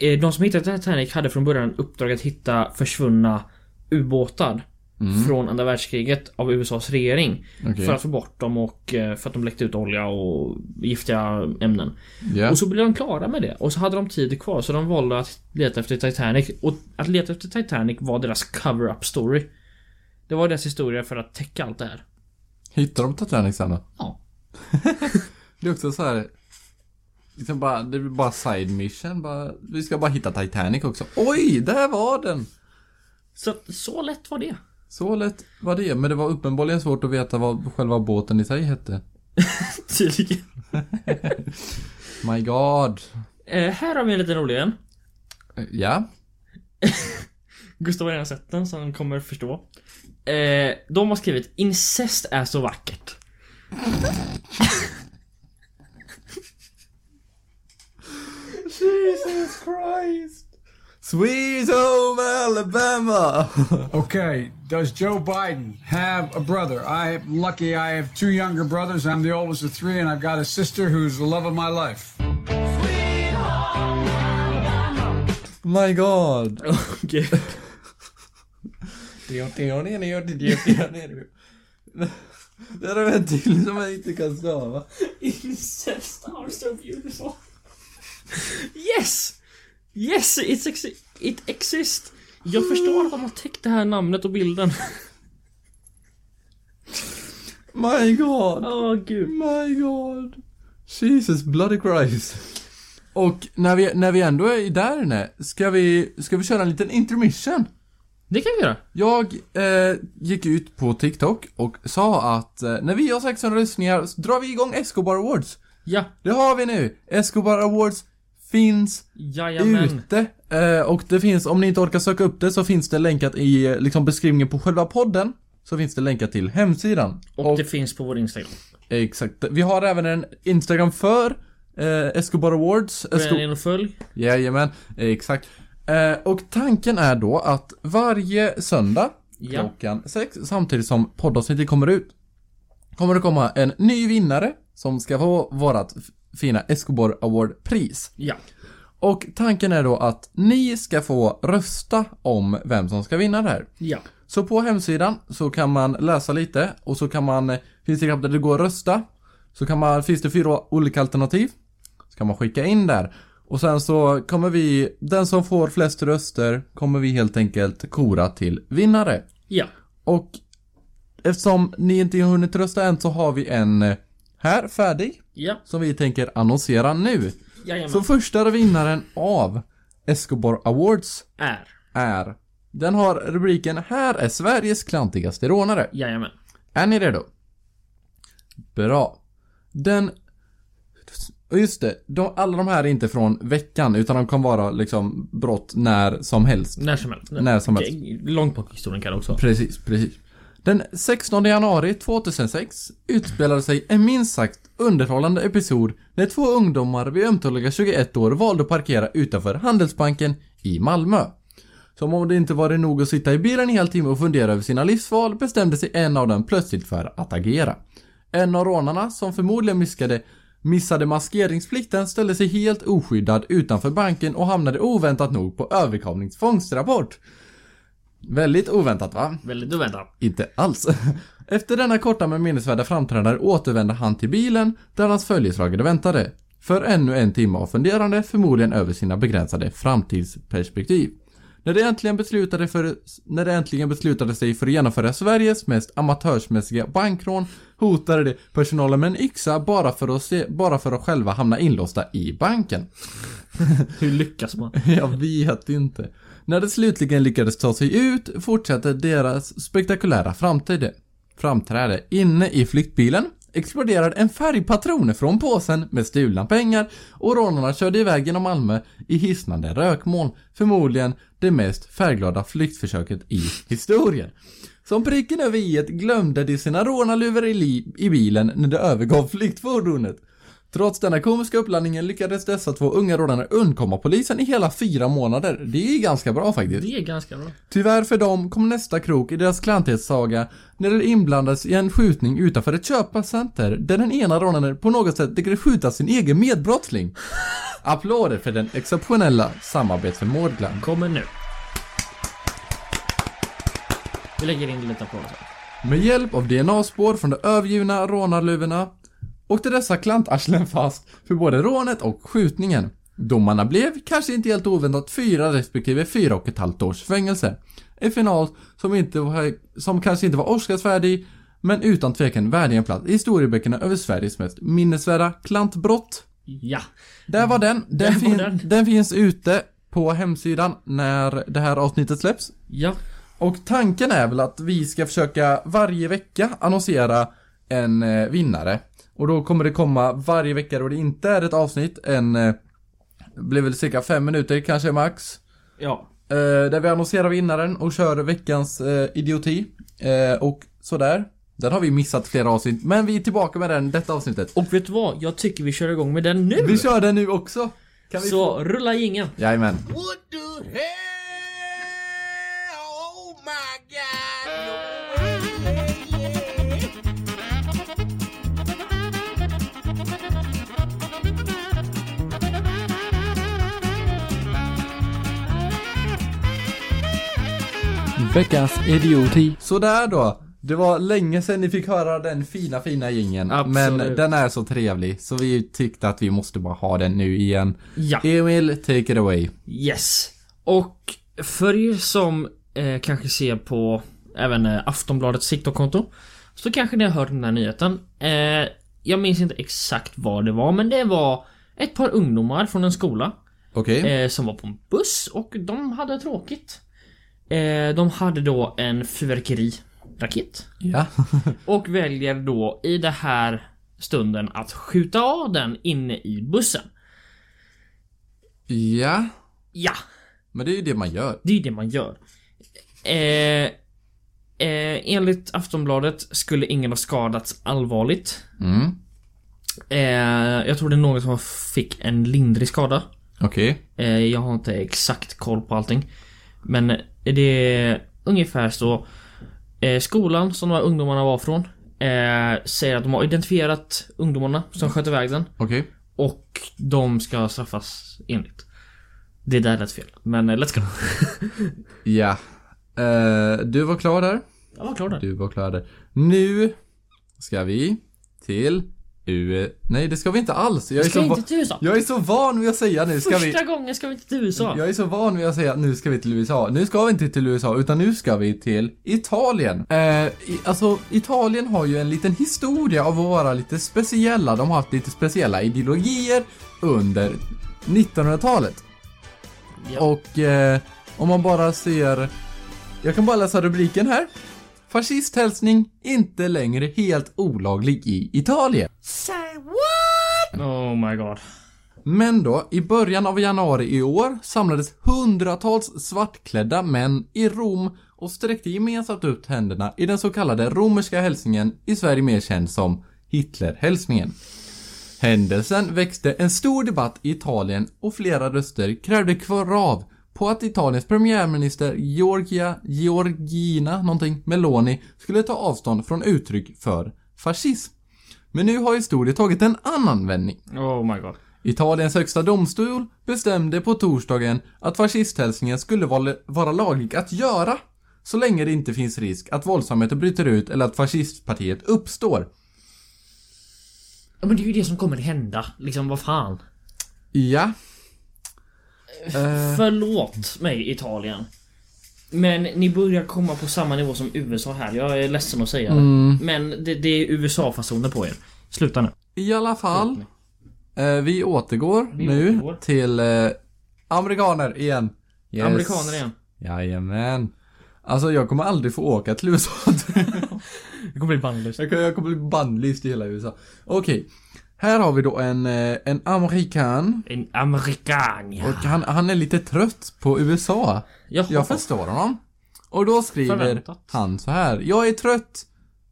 eh, de som hittade Titanic hade från början uppdrag att hitta försvunna ubåtar från andra världskriget av USAs regering.
Okej.
För att få bort dem och eh, för att de läckte ut olja och giftiga ämnen.
Ja.
Och så blev de klara med det och så hade de tid kvar så de valde att leta efter Titanic och att leta efter Titanic var deras cover-up story. Det var deras historia för att täcka allt det här.
Hittar de Titanic sen då?
Ja.
Det är också så här. Liksom bara, det blir bara side mission. Bara, vi ska bara hitta Titanic också. Oj, där var den!
Så att, så lätt var det.
Så lätt var det, men det var uppenbarligen svårt att veta vad själva båten i sig hette.
Tydligen.
My God.
Eh, här har vi en liten rolig en.
Eh, Ja.
Gustav har redan sett den så han kommer förstå. Eh, de har skrivit 'Incest är så vackert'
Jesus Christ. Sweet home Alabama.
Okay, does Joe Biden have a brother? I'm lucky I have two younger brothers. I'm the oldest of three, and I've got a sister who's the love of my life.
My God.
Okej.
Där har vi en till som jag inte kan stava.
Incest are so beautiful. Yes! Yes, it's exi- it exists. Jag förstår att de har täckt det här namnet och bilden.
My God.
Åh gud.
My God. Jesus bloody Christ. Och när vi, när vi ändå är där inne, ska vi, ska vi köra en liten intermission?
Det kan vi göra.
Jag eh, gick ut på TikTok och sa att eh, när vi har 600 lyssningar så drar vi igång Escobar Awards.
Ja,
Det har vi nu! Escobar Awards finns
jajamän.
ute. Eh, och det finns, om ni inte orkar söka upp det så finns det länkat i eh, liksom beskrivningen på själva podden. Så finns det länkat till hemsidan.
Och, det finns på vår Instagram.
Exakt. Vi har även en Instagram för eh, Escobar Awards.
Gå gärna
Esco-
in och följ.
Jajamän, exakt. Eh, och tanken är då att varje söndag
Ja.
klockan sex, samtidigt som poddavsnittet kommer ut, kommer det komma en ny vinnare som ska få vårat f- fina Escobar Award-pris.
Ja.
Och tanken är då att ni ska få rösta om vem som ska vinna det här.
Ja.
Så på hemsidan så kan man läsa lite och så kan man, eh, finns det knapp där det går att rösta. Så kan man, finns det fyra olika alternativ. Så kan man skicka in där. Och sen så kommer vi, den som får flest röster kommer vi helt enkelt kora till vinnare.
Ja.
Och eftersom ni inte har hunnit rösta än så har vi en eh, här färdig.
Ja.
Som vi tänker annonsera nu.
Jajamän.
Så första vinnaren av Escobar Awards
Är.
är Den har rubriken Här är Sveriges klantigaste rånare.
Jajamän.
Är ni redo? Bra. Den... Och Just det, de, alla de här är inte från veckan utan de kan vara liksom brott när som helst.
När som helst.
När som helst.
Okej, Långt bak i historien kan det också.
Precis, precis. Den 16 januari 2006 utspelade sig en minst sagt underhållande episod när två ungdomar vid ömtåliga 21 år valde att parkera utanför Handelsbanken i Malmö. Som om det inte var nog att sitta i bilen en hel timme och fundera över sina livsval bestämde sig en av dem plötsligt för att agera. En av rånarna, som förmodligen missade, missade maskeringsplikten, ställde sig helt oskyddad utanför banken och hamnade oväntat nog på överkomlingsfångstrapport. Väldigt oväntat va?
Väldigt oväntat.
Inte alls. Efter denna korta men minnesvärda framträdande återvände han till bilen där hans följeslagare väntade. För ännu en timme av funderande, förmodligen över sina begränsade framtidsperspektiv. När det äntligen beslutade, för, när det äntligen beslutade sig för att genomföra Sveriges mest amatörsmässiga bankrån hotade det personalen med en yxa bara för att, se, bara för att själva hamna inlåsta i banken.
Hur lyckas man?
Jag vet inte. När de slutligen lyckades ta sig ut fortsatte deras spektakulära framtid. Framträde inne i flyktbilen exploderade en färgpatron från påsen med stulna pengar och rånarna körde iväg genom Malmö i hisnande rökmoln, förmodligen det mest färgglada flyktförsöket i historien. Som pricken över i glömde de sina rånarluvor i, li- i bilen när de övergav flyktfordonet. Trots denna komiska uppladdningen lyckades dessa två unga rånare undkomma polisen i hela fyra månader. Det är ganska bra faktiskt.
Det är ganska bra.
Tyvärr för dem kom nästa krok i deras klantighetssaga när de inblandades i en skjutning utanför ett köpcenter där den ena rånaren på något sätt lyckades skjuta sin egen medbrottsling. Applåder för den exceptionella samarbetsförmågan.
Kommer nu. Vi lägger in lite på sen.
Med hjälp av DNA-spår från de övergivna rånarluvorna åkte dessa klantarslen fast för både rånet och skjutningen. Domarna blev, kanske inte helt oväntat, fyra respektive fyra och ett halvt års fängelse. En final som, inte var, som kanske inte var Oscarsvärdig, men utan tvekan värdig en plats i historieböckerna över Sveriges mest minnesvärda klantbrott.
Ja.
Där var den. Den,
var
fin-
den.
den finns ute på hemsidan när det här avsnittet släpps.
Ja.
Och tanken är väl att vi ska försöka varje vecka annonsera en eh, vinnare. Och då kommer det komma varje vecka då det inte är ett avsnitt, en... Eh, blir väl cirka fem minuter kanske max.
Ja.
Eh, där vi annonserar vinnaren och kör veckans eh, idioti. Eh, och sådär. Där har vi missat flera avsnitt, men vi är tillbaka med den detta avsnittet.
Och vet du vad? Jag tycker vi kör igång med den nu!
Vi kör den nu också! Kan vi...
Så rulla jingeln.
Jajamän.
Veckans idioti.
Sådär då. Det var länge sedan ni fick höra den fina, fina gingen.
Absolut.
Men den är så trevlig, så vi tyckte att vi måste bara ha den nu igen.
Ja.
Emil, take it away.
Yes. Och för er som eh, kanske ser på även eh, Aftonbladets TikTok-konto så kanske ni har hört den här nyheten. Eh, jag minns inte exakt vad det var men det var ett par ungdomar från en skola
Okej.
eh, som var på en buss och de hade tråkigt. Eh, de hade då en fyrverkeriraket
Ja.
och väljer då i det här stunden att skjuta av den inne i bussen.
ja.
Ja,
Men det är ju det man gör.
Det är ju det man gör. Eh, eh, enligt Aftonbladet skulle ingen ha skadats allvarligt.
Mm.
Eh, jag tror det är någon som fick en lindrig skada.
Okej.
Eh, jag har inte exakt koll på allting. Men det är ungefär så. Eh, skolan som de här ungdomarna var från eh, säger att de har identifierat ungdomarna som sköt iväg den.
Okej.
Och de ska straffas enligt. Det där lät fel. Men eh, let's go.
Ja. Eh, du var klar där.
Jag var klar där.
Du var klar där. Nu ska vi till U... Nej, det ska vi inte alls. Jag är,
Ska
så, va-
inte till USA?
jag är så van vid att säga nu ska vi...
Första gången ska vi inte till USA.
Jag är så van vid att säga att nu ska vi till USA. Nu ska vi inte till USA, utan nu ska vi till Italien. Eh, i, alltså, Italien har ju en liten historia av att vara lite speciella. De har haft lite speciella ideologier under 1900-talet.
Ja.
Och eh, om man bara ser... Jag kan bara läsa rubriken här. Fascisthälsning inte längre helt olaglig i Italien.
Oh my god.
Men då, i början av januari i år samlades hundratals svartklädda män i Rom och sträckte gemensamt ut händerna i den så kallade romerska hälsningen, i Sverige mer känd som Hitlerhälsningen. Händelsen växte en stor debatt i Italien och flera röster krävde krav på att Italiens premiärminister Giorgia Giorgina någonting Meloni skulle ta avstånd från uttryck för fascism. Men nu har historien tagit en annan vändning.
Oh my god.
Italiens högsta domstol bestämde på torsdagen att fascisthälsningen skulle vara- vara laglig att göra så länge det inte finns risk att våldsamheter bryter ut eller att fascistpartiet uppstår.
Ja, men det är ju det som kommer hända. Liksom vad fan.
Ja,
Förlåt mig Italien. Men ni börjar komma på samma nivå som USA här. Jag är ledsen att säga det. Men det, det är USA-fasoner på er. Sluta nu.
i alla fall. Eh, vi återgår nu
återgår.
till eh, amerikaner igen. Yes.
Amerikaner igen.
Jajamän. Alltså jag kommer aldrig få åka till USA.
Det kommer bli bannlyst.
Jag kommer, jag kommer bli bannlyst i hela USA. Okej. Här har vi då en, eh, en amerikan
En amerikan ja.
Och han, han är lite trött på USA.
Jaha.
Jag förstår honom. Och då skriver
Förväntat.
han så här. Jag är trött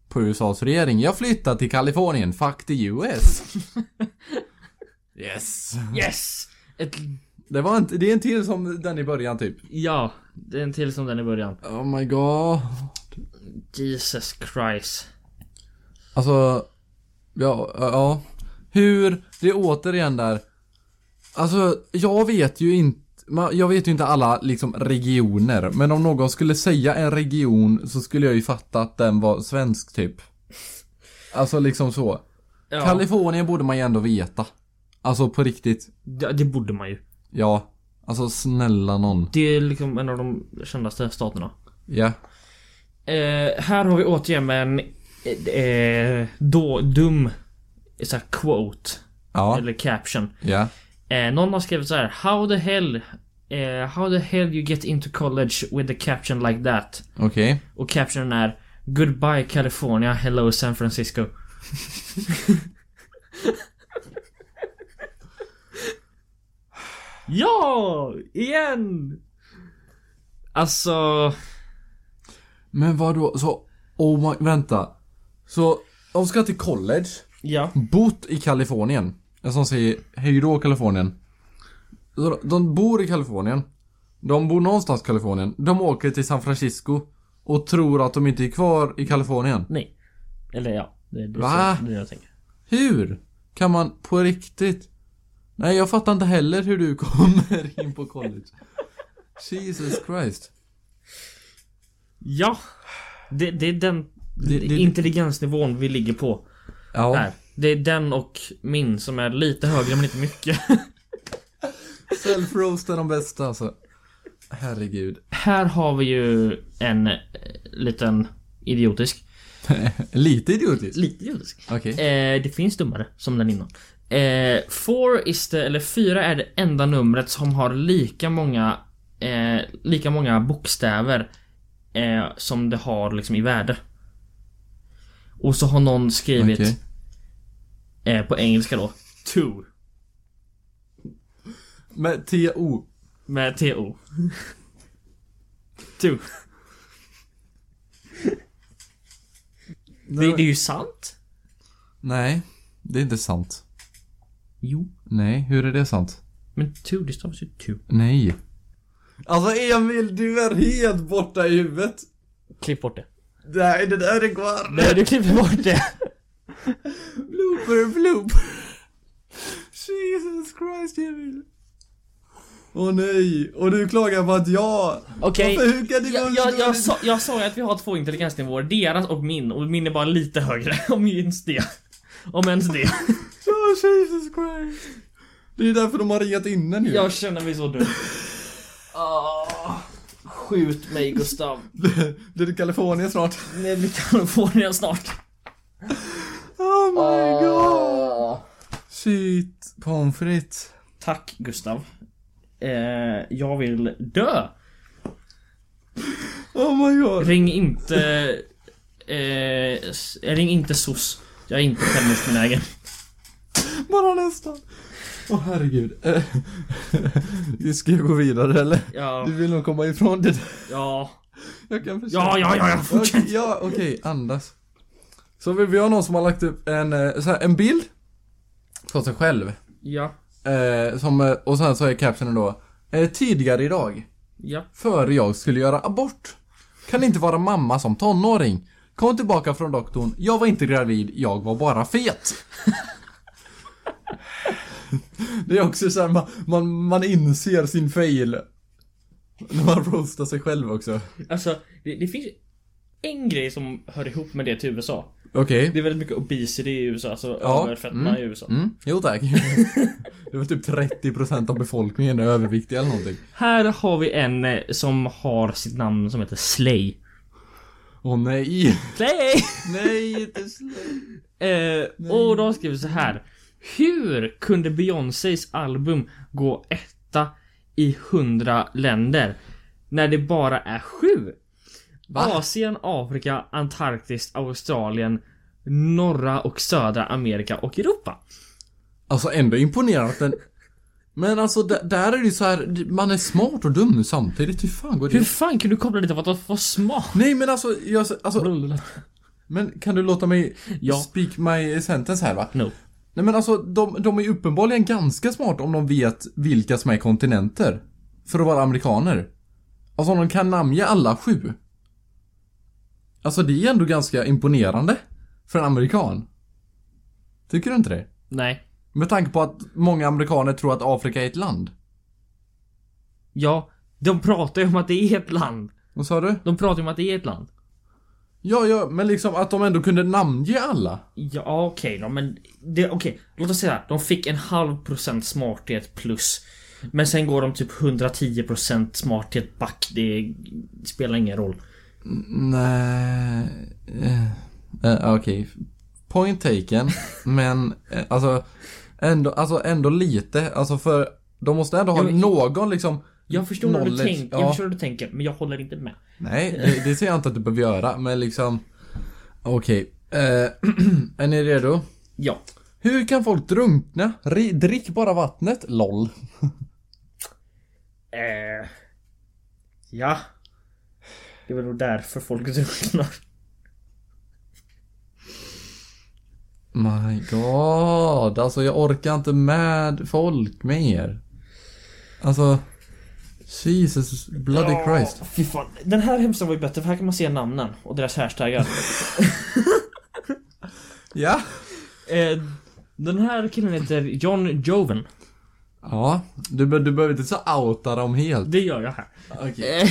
på USAs regering. Jag flyttar till Kalifornien. Fuck the US. yes.
Yes! Ett,
Det var inte, det är en till som den i början typ.
ja, det är en till som den i början.
Oh my god.
Jesus Christ.
Alltså, ja, ja. Hur, det är återigen där. Alltså, jag vet ju inte, ma- jag vet ju inte alla liksom regioner, men om någon skulle säga en region så skulle jag ju fatta att den var svensk typ. Alltså liksom så.
Ja,
Kalifornien borde man ju ändå veta. Alltså på riktigt.
det, det borde man ju.
Ja. Alltså snälla någon.
Det är liksom en av de kändaste staterna.
Ja.
Eh, här har vi återigen en eh, eh, då, dum så här, quote
Ja.
eller caption.
Ja.
Eh, någon har skrivit så här How the hell eh, How the hell you get into college with the caption like that?
Okej.
Och captionen är Goodbye California, hello San Francisco. ja! Igen! Alltså...
Men vad då? så... Oh my... Vänta. Så, de ska till college.
Ja.
Bott i Kalifornien. En som säger hej då Kalifornien. Så De bor i Kalifornien. De bor någonstans i Kalifornien. De åker till San Francisco. Och tror att de inte är kvar i Kalifornien.
Nej. Eller ja. Det är det,
Va?
som- det är det jag tänker.
Hur? Kan man på riktigt? Nej, jag fattar inte heller hur du kommer in på college. Jesus Christ.
Ja. Det, det är den
Det- det-
intelligensnivån vi ligger på.
Ja.
Här. Det är den och min som är lite högre men inte mycket.
Self-roast är de bästa alltså. Herregud.
Här har vi ju en eh, liten idiotisk.
Lite idiotiskt.
Lite idiotisk.
Okej.
Eh, det finns dummare, som den innan. Eh, four is the, eller fyra är det enda numret som har lika många eh, Lika många bokstäver eh, Som det har liksom i värde. Och så har någon skrivit
Okej.
eh, På engelska då Two
Med T-O.
Med TO. Two. Det, det är ju sant.
Nej, det är inte sant.
Jo.
Nej, hur är det sant?
Men two, det stavas ju two.
Nej. Alltså Emil, du är helt borta i huvudet.
Klipp bort det.
Nej, det där är kvar.
Nej, du klipper bort det.
Blooper, blooper. Jesus Christ, Emil. Åh nej, och du klagar på att jag...
Okej.
Varför hukar du
Jag, jag, jag, sa, jag sa ju att vi har två intelligensnivåer, deras och min, och min är bara lite högre, om ens det. Om ens det.
Oh, Jesus Christ. Det är ju därför de har ringat inne nu.
Jag känner mig så dum. Ah, skjut mig Gustav.
Blir det Kalifornien snart?
Nej, vi kan få det snart.
Oh
Ah.
my god. Shit, pommes frites.
Tack Gustav. Eh, jag vill dö.
Oh my god.
Ring inte... Eh, s- ring inte SOS. Jag är inte självmordsbenägen.
Bara nästan. Åh herregud. Eh, Vi ska gå vidare eller?
Ja,
Du vill nog komma ifrån det där.
ja.
Jag kan förstå.
Ja, ja, ja, ja,
Okej,
fortsätt.
ja, okej, andas. Så vi, vi har någon som har lagt upp en, eh, så här, en bild på sig själv.
Ja,
Eh, som, eh, och sen så är captionen då eh, Tidigare idag,
ja.
före jag skulle göra abort. Kan inte vara mamma som tonåring. Kom tillbaka från doktorn, jag var inte gravid, jag var bara fet. Det är också såhär, man, man, man inser sin fail. När man roastar sig själv också.
Alltså, det, det finns en grej som hör ihop med det till USA.
Okej.
Det är väldigt mycket obesity i USA, alltså
Ja,
överfetma i USA.
Mm, jo tack. det var typ 30% av befolkningen är överviktig eller någonting.
Här har vi en eh, som har sitt namn som heter Slay.
Åh nej!
Slay!
Nej, inte slut.
Eh, och de skriver så här. Hur kunde Beyoncés album gå etta i 100 länder när det bara är sju? Asien, Afrika, Antarktis, Australien, norra och södra Amerika och Europa.
Alltså ändå imponerande att den... Men alltså d- där är det ju så här, man är smart och dum samtidigt. Hur fan går det
Hur fan kan du koppla det till att vara för smart?
Nej men alltså, jag, alltså... Men kan du låta mig
Ja.
speak my sentence här va?
No.
Nej men alltså, de, de är ju uppenbarligen ganska smarta om de vet vilka som är kontinenter. För att vara amerikaner. Alltså om de kan namnge alla sju. Alltså det är ändå ganska imponerande. För en amerikan. Tycker du inte det?
Nej.
Med tanke på att många amerikaner tror att Afrika är ett land.
Ja, de pratar ju om att det är ett land.
Vad sa du?
De pratar ju om att det är ett land.
Ja, ja, men liksom att de ändå kunde namnge alla.
Ja, okej då, men det, okej. Låt oss säga de fick en halv procent smarthet plus. Men sen går de typ 110 procent smarthet back. Det spelar ingen roll.
Nej... eh, eh, Okej. Point taken. men eh, alltså ändå, alltså ändå lite. Alltså för de måste ändå ha
Jo, men-
någon liksom
Jag förstår hur du
knowledge,
tänker, jag
ja.
förstår hur du tänker, men jag håller inte med.
Nej, det, det säger jag inte att du behöver göra, men liksom... Okej. Eh, är ni redo?
Ja.
Hur kan folk drunkna? Ri- drick bara vattnet, LOL.
Eh, ja. Det var nog därför folk drunknar.
My god, alltså jag orkar inte med folk mer. Alltså... Jesus bloody Christ.
Fy fan. Den här hemsidan var ju bättre för här kan man se namnen och deras hashtaggar.
Ja.
eh, den här killen heter John Joven.
Ja, du, be- du behöver inte så outa dem helt.
Det gör jag här. Eh.
Okej.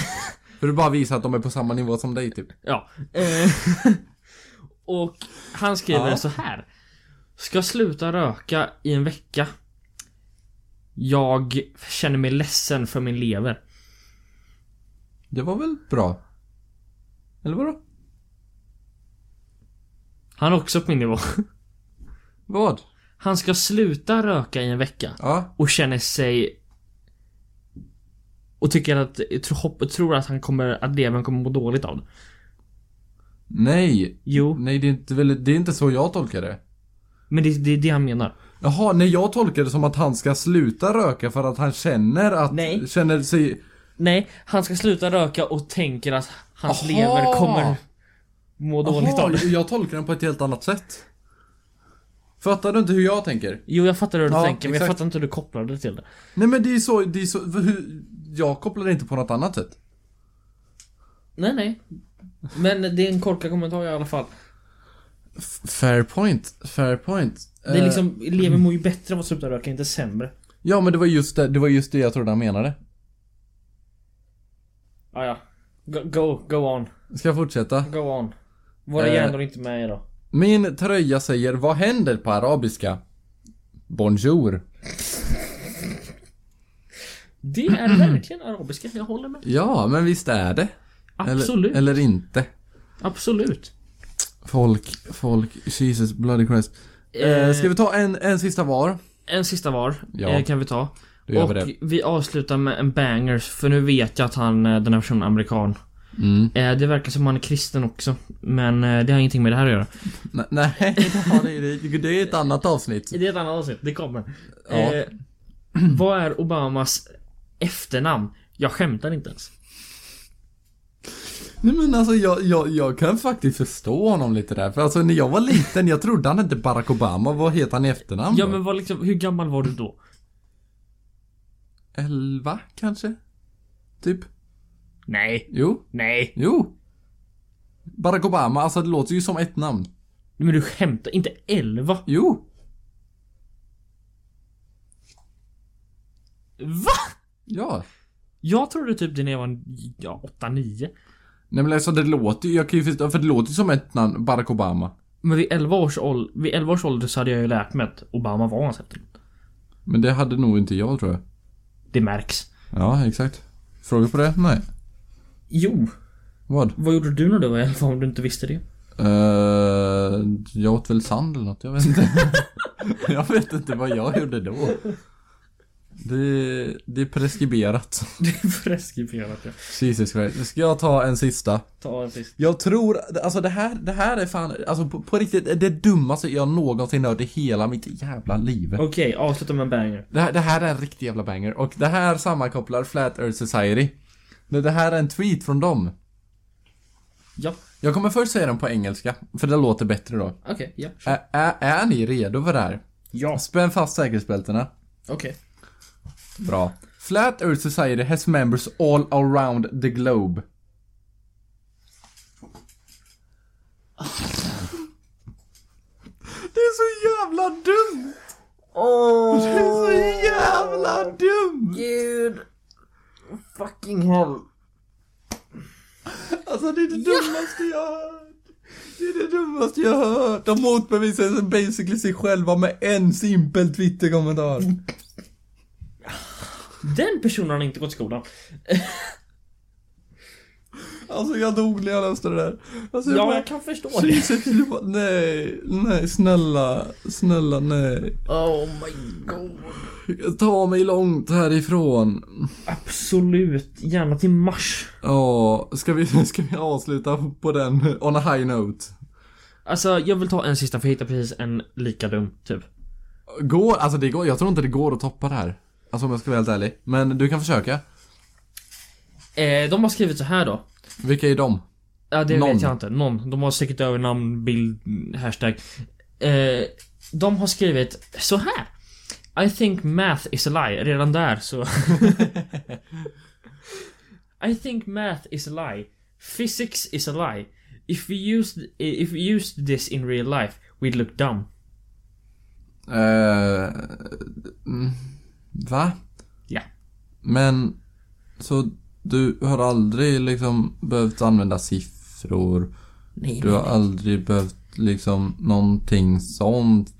För du bara visar att de är på samma nivå som dig typ.
Ja. Eh, och han skriver
Ja.
så här. Ska sluta röka i en vecka. Jag känner mig ledsen för min lever.
Det var väl bra? Eller vadå?
Han är också på min nivå.
Vad?
Han ska sluta röka i en vecka.
Ja.
och känner sig och tycker att, tro- hopp, tror att han kommer, att levern kommer må dåligt av det.
Nej.
Jo,
Nej, det är inte, väl, det är inte så jag tolkar det.
men det, det är det han menar.
Jaha, nej jag tolkar det som att han ska sluta röka för att han känner att...
Nej.
Känner sig...
Nej, han ska sluta röka och tänker att hans
Aha!
lever kommer må dåligt
Jaha,
av det.
jag- jag tolkar den på ett helt annat sätt. Fattar du inte hur jag tänker?
Jo, jag fattar hur du
Ja,
tänker, men jag
exakt.
fattar inte hur du kopplade det till det.
Nej men det är så, det är så... Hur, jag kopplar det inte på något annat sätt.
Nej, nej. Men det är en korkad kommentar i alla fall.
Fair point, fair point. Eh,
Det är liksom,
mm.
levern mår ju bättre av att sluta röka, inte sämre.
Ja men det var just det, det var just det jag trodde han menade.
Ah, ja. Go, go, go on.
Ska jag fortsätta?
Go on. Våra
Eh.
hjärnor är inte med idag.
Min tröja säger vad händer på arabiska? Bonjour.
Det är verkligen arabiska, jag håller med.
Ja, men visst är det.
Absolut.
Eller, eller inte.
Absolut.
Folk, folk, Jesus bloody Christ. Eh,
Eh,
ska vi ta en, en sista var?
En sista var
Ja.
eh, kan vi ta.
Då gör
och
vi det.
vi avslutar med en bangers för nu vet jag att han, eh, den här personen är amerikan.
Mm.
Eh, Det verkar som han är kristen också. Men eh, det har ingenting med det här att göra.
Nej, nej det, är, det är ett annat avsnitt.
Det är ett annat avsnitt, det kommer.
Ja.
Eh, vad är Obamas efternamn? Jag skämtar inte ens.
Nej men alltså jag, jag, jag kan faktiskt förstå honom lite där. För alltså när jag var liten, jag trodde han hette Barack Obama. Vad heter han i efternamn
Ja
då?
men vad liksom, hur gammal var du då?
Elva kanske? Typ?
Nej,
Jo?
nej.
Jo! Barack Obama, alltså det låter ju som ett namn.
Men du skämtar, inte 11?
Jo!
Va?
Ja.
Jag trodde typ det när jag var ja, 8-9.
Nej men alltså det låter ju, jag kan ju förstå, för det låter ju som ett namn, Barack Obama.
Men vid 11 års ålder, vid 11 års ålder så hade jag ju lärt mig att Obama var hans efternamn.
Men det hade nog inte jag tror jag.
Det märks.
Ja, exakt. Fråga på det? Nej.
Jo.
Vad?
Vad gjorde du när du var 11 om du inte visste det?
Eh, jag åt väl sand eller något, jag vet inte. jag vet inte vad jag gjorde då. Det, det är preskriberat.
Det är preskriberat ja.
Jesus Christ. Ska jag ta en sista?
Ta en sist.
Jag tror, alltså det här, det här är fan, alltså på, på riktigt, det dummaste jag någonsin hört i hela mitt jävla liv.
Okej, avsluta med en banger.
Det här, det här är en riktig jävla banger och det här sammankopplar Flat Earth Society. Men Det här är en tweet från dem.
Ja,
Jag kommer först säga den på engelska, för det låter bättre då.
okej, ja. kör.
Ä- Ä är ni redo för det här?
Ja.
Spänn fast säkerhetsbältena.
Okej.
Bra. Flat Earth Society has members all around the globe. Det är så jävla dumt!
Åh,
Det är så jävla dumt!
gud. Fucking hell.
Alltså det är det dummaste jag har hört. Det är det dummaste jag har hört. De motbevisar sig basically sig själva med en simpel Twitter-kommentar.
Den personen har inte gått i skolan.
Alltså jag dog när jag läste det där. Alltså,
Ja,
bara-
jag kan förstå det.
Jesus, jag bara, nej, nej, snälla, snälla, nej.
Oh my god.
Ta mig långt härifrån.
Absolut. Gärna till Mars.
Ja, ska vi, ska vi avsluta på den on a high note?
Alltså, jag vill ta en sista för jag hittade precis en lika dum, typ.
Går, alltså det går, jag tror inte det går att toppa det här. Alltså om jag ska vara helt ärlig. Men du kan försöka.
Eh, de har skrivit så här då.
Vilka är de?
Ja, det
Någon.
vet jag inte. Någon. De har säkert över namn, bild, hashtag. Eh, de har skrivit så här. I think math is a lie. Redan där så... I think math is a lie. Physics is a lie. If we used, if we used this in real life, we'd look dumb.
Eh, mm, va?
Ja.
Men, så du har aldrig liksom behövt använda siffror?
Nej,
Du har aldrig behövt liksom någonting sånt?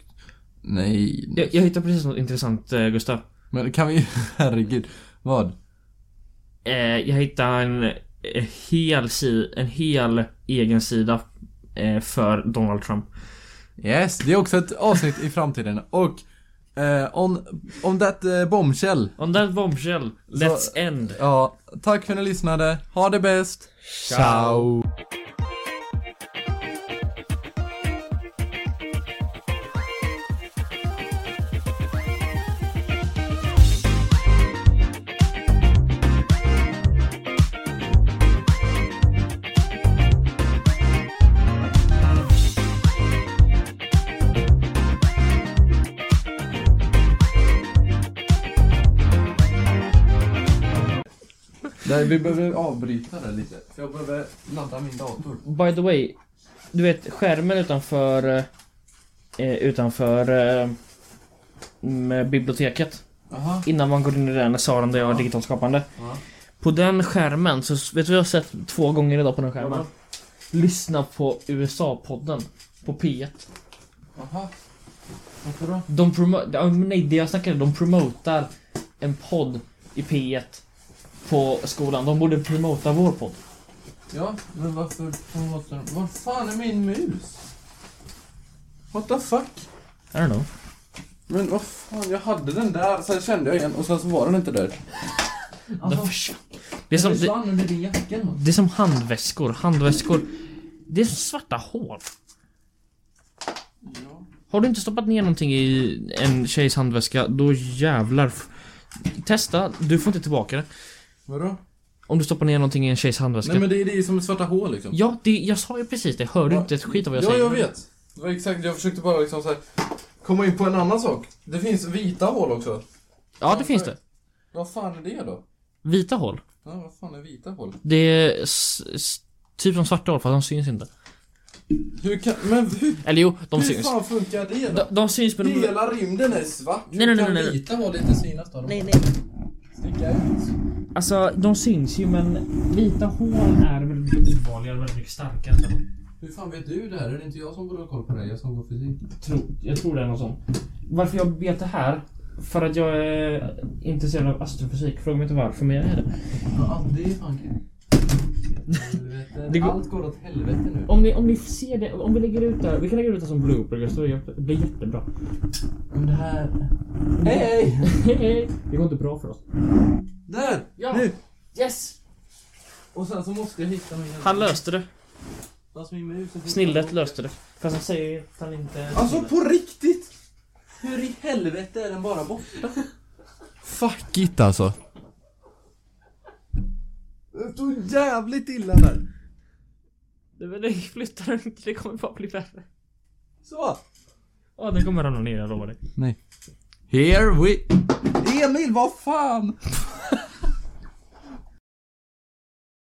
Nej.
Jag, jag hittade precis något intressant eh, Gustav.
Men kan vi, herregud. Vad?
Eh, jag hittade en, eh, hel si, en hel egen sida eh, för Donald Trump.
Yes, det är också ett avsnitt i framtiden och eh, on, on that eh, bombshell.
On that bombshell, let's end.
Ja, tack för att ni lyssnade. Ha det bäst. Ciao. Nej, vi behöver avbryta det lite. För jag behöver ladda min dator.
By the way, du vet skärmen utanför eh, eh, utanför eh, mm, biblioteket.
Jaha.
Innan man går in i den salen där jag har digitalt skapande. På den skärmen, så vet du vad jag har sett två gånger idag på den skärmen? Lyssna på USA-podden på P1.
Jaha. Varför då?
De promotar, nej det jag snackade de promotar en podd i P1 på skolan. De borde promota vår podd.
Ja, men varför promotar den? Var fan är min mus? What the fuck?
I don't know.
Men vad fan, jag hade den där, sen kände jag igen och sen så var den inte där.
De försvann. Det är som, det,
under din jacka
det är som handväskor. Handväskor. Det är som svarta hål. Har du inte stoppat ner någonting i en tjejs handväska, då jävlar. f- Testa, du får inte tillbaka det.
Vadå?
Om du stoppar ner någonting i en tjejs handväska.
Nej men det är det som är svarta hål liksom.
Ja, det, jag sa ju precis det. Hör du inte ett skit av vad jag
ja,
säger?
jag vet. Det var exakt, jag försökte bara liksom så här, komma in på en annan sak. Det finns vita hål också.
Ja, det finns det.
Vad fan är det då?
Vita hål.
Ja, vad fan är vita hål?
Det är s- s- typ som svarta hål fast de syns inte.
Hur kan, men hur,
Eller jo, de
hur
syns.
fan funkar det
De,
då?
de syns men de...
Hela rymden är svart.
Nej, nej,
Hur kan
nej, nej.
vita hål inte synas då? De
Nej, nej.
sticker ut.
Alltså de syns ju men vita hål är väldigt ovanliga och väldigt mycket starkare.
Hur fan vet du det här? Är det inte jag som borde ha koll på det? Jag som går fysik.
Tro, jag tror det är någon sån. Varför jag vet det här? För att jag är intresserad av astrofysik. Fråga mig inte varför men jag är det.
Ja, det är fan Helvete.
Det går-
Allt går åt helvete nu.
Om ni, om ni ser det, om vi lägger ut det här. Vi kan lägga ut det som blooper Gustav. Det blir jätte- blir jättebra.
Men det här... Hej, hej!
det går inte bra för oss.
Där!
Ja.
Nu!
Yes!
Och sen så måste jag hitta min jävla...
Han löste det.
Fast min mus är-
Snillet löste det. Fast han säger att han inte...
Alltså på riktigt! Hur i helvete är den bara borta? Fuck it alltså. Det tog jävligt illa där.
Det var det, flytta den inte, det kommer bara bli värre.
Så!
Ja, den kommer ramla ner, jag lovar dig.
Here we... Emil, vad fan!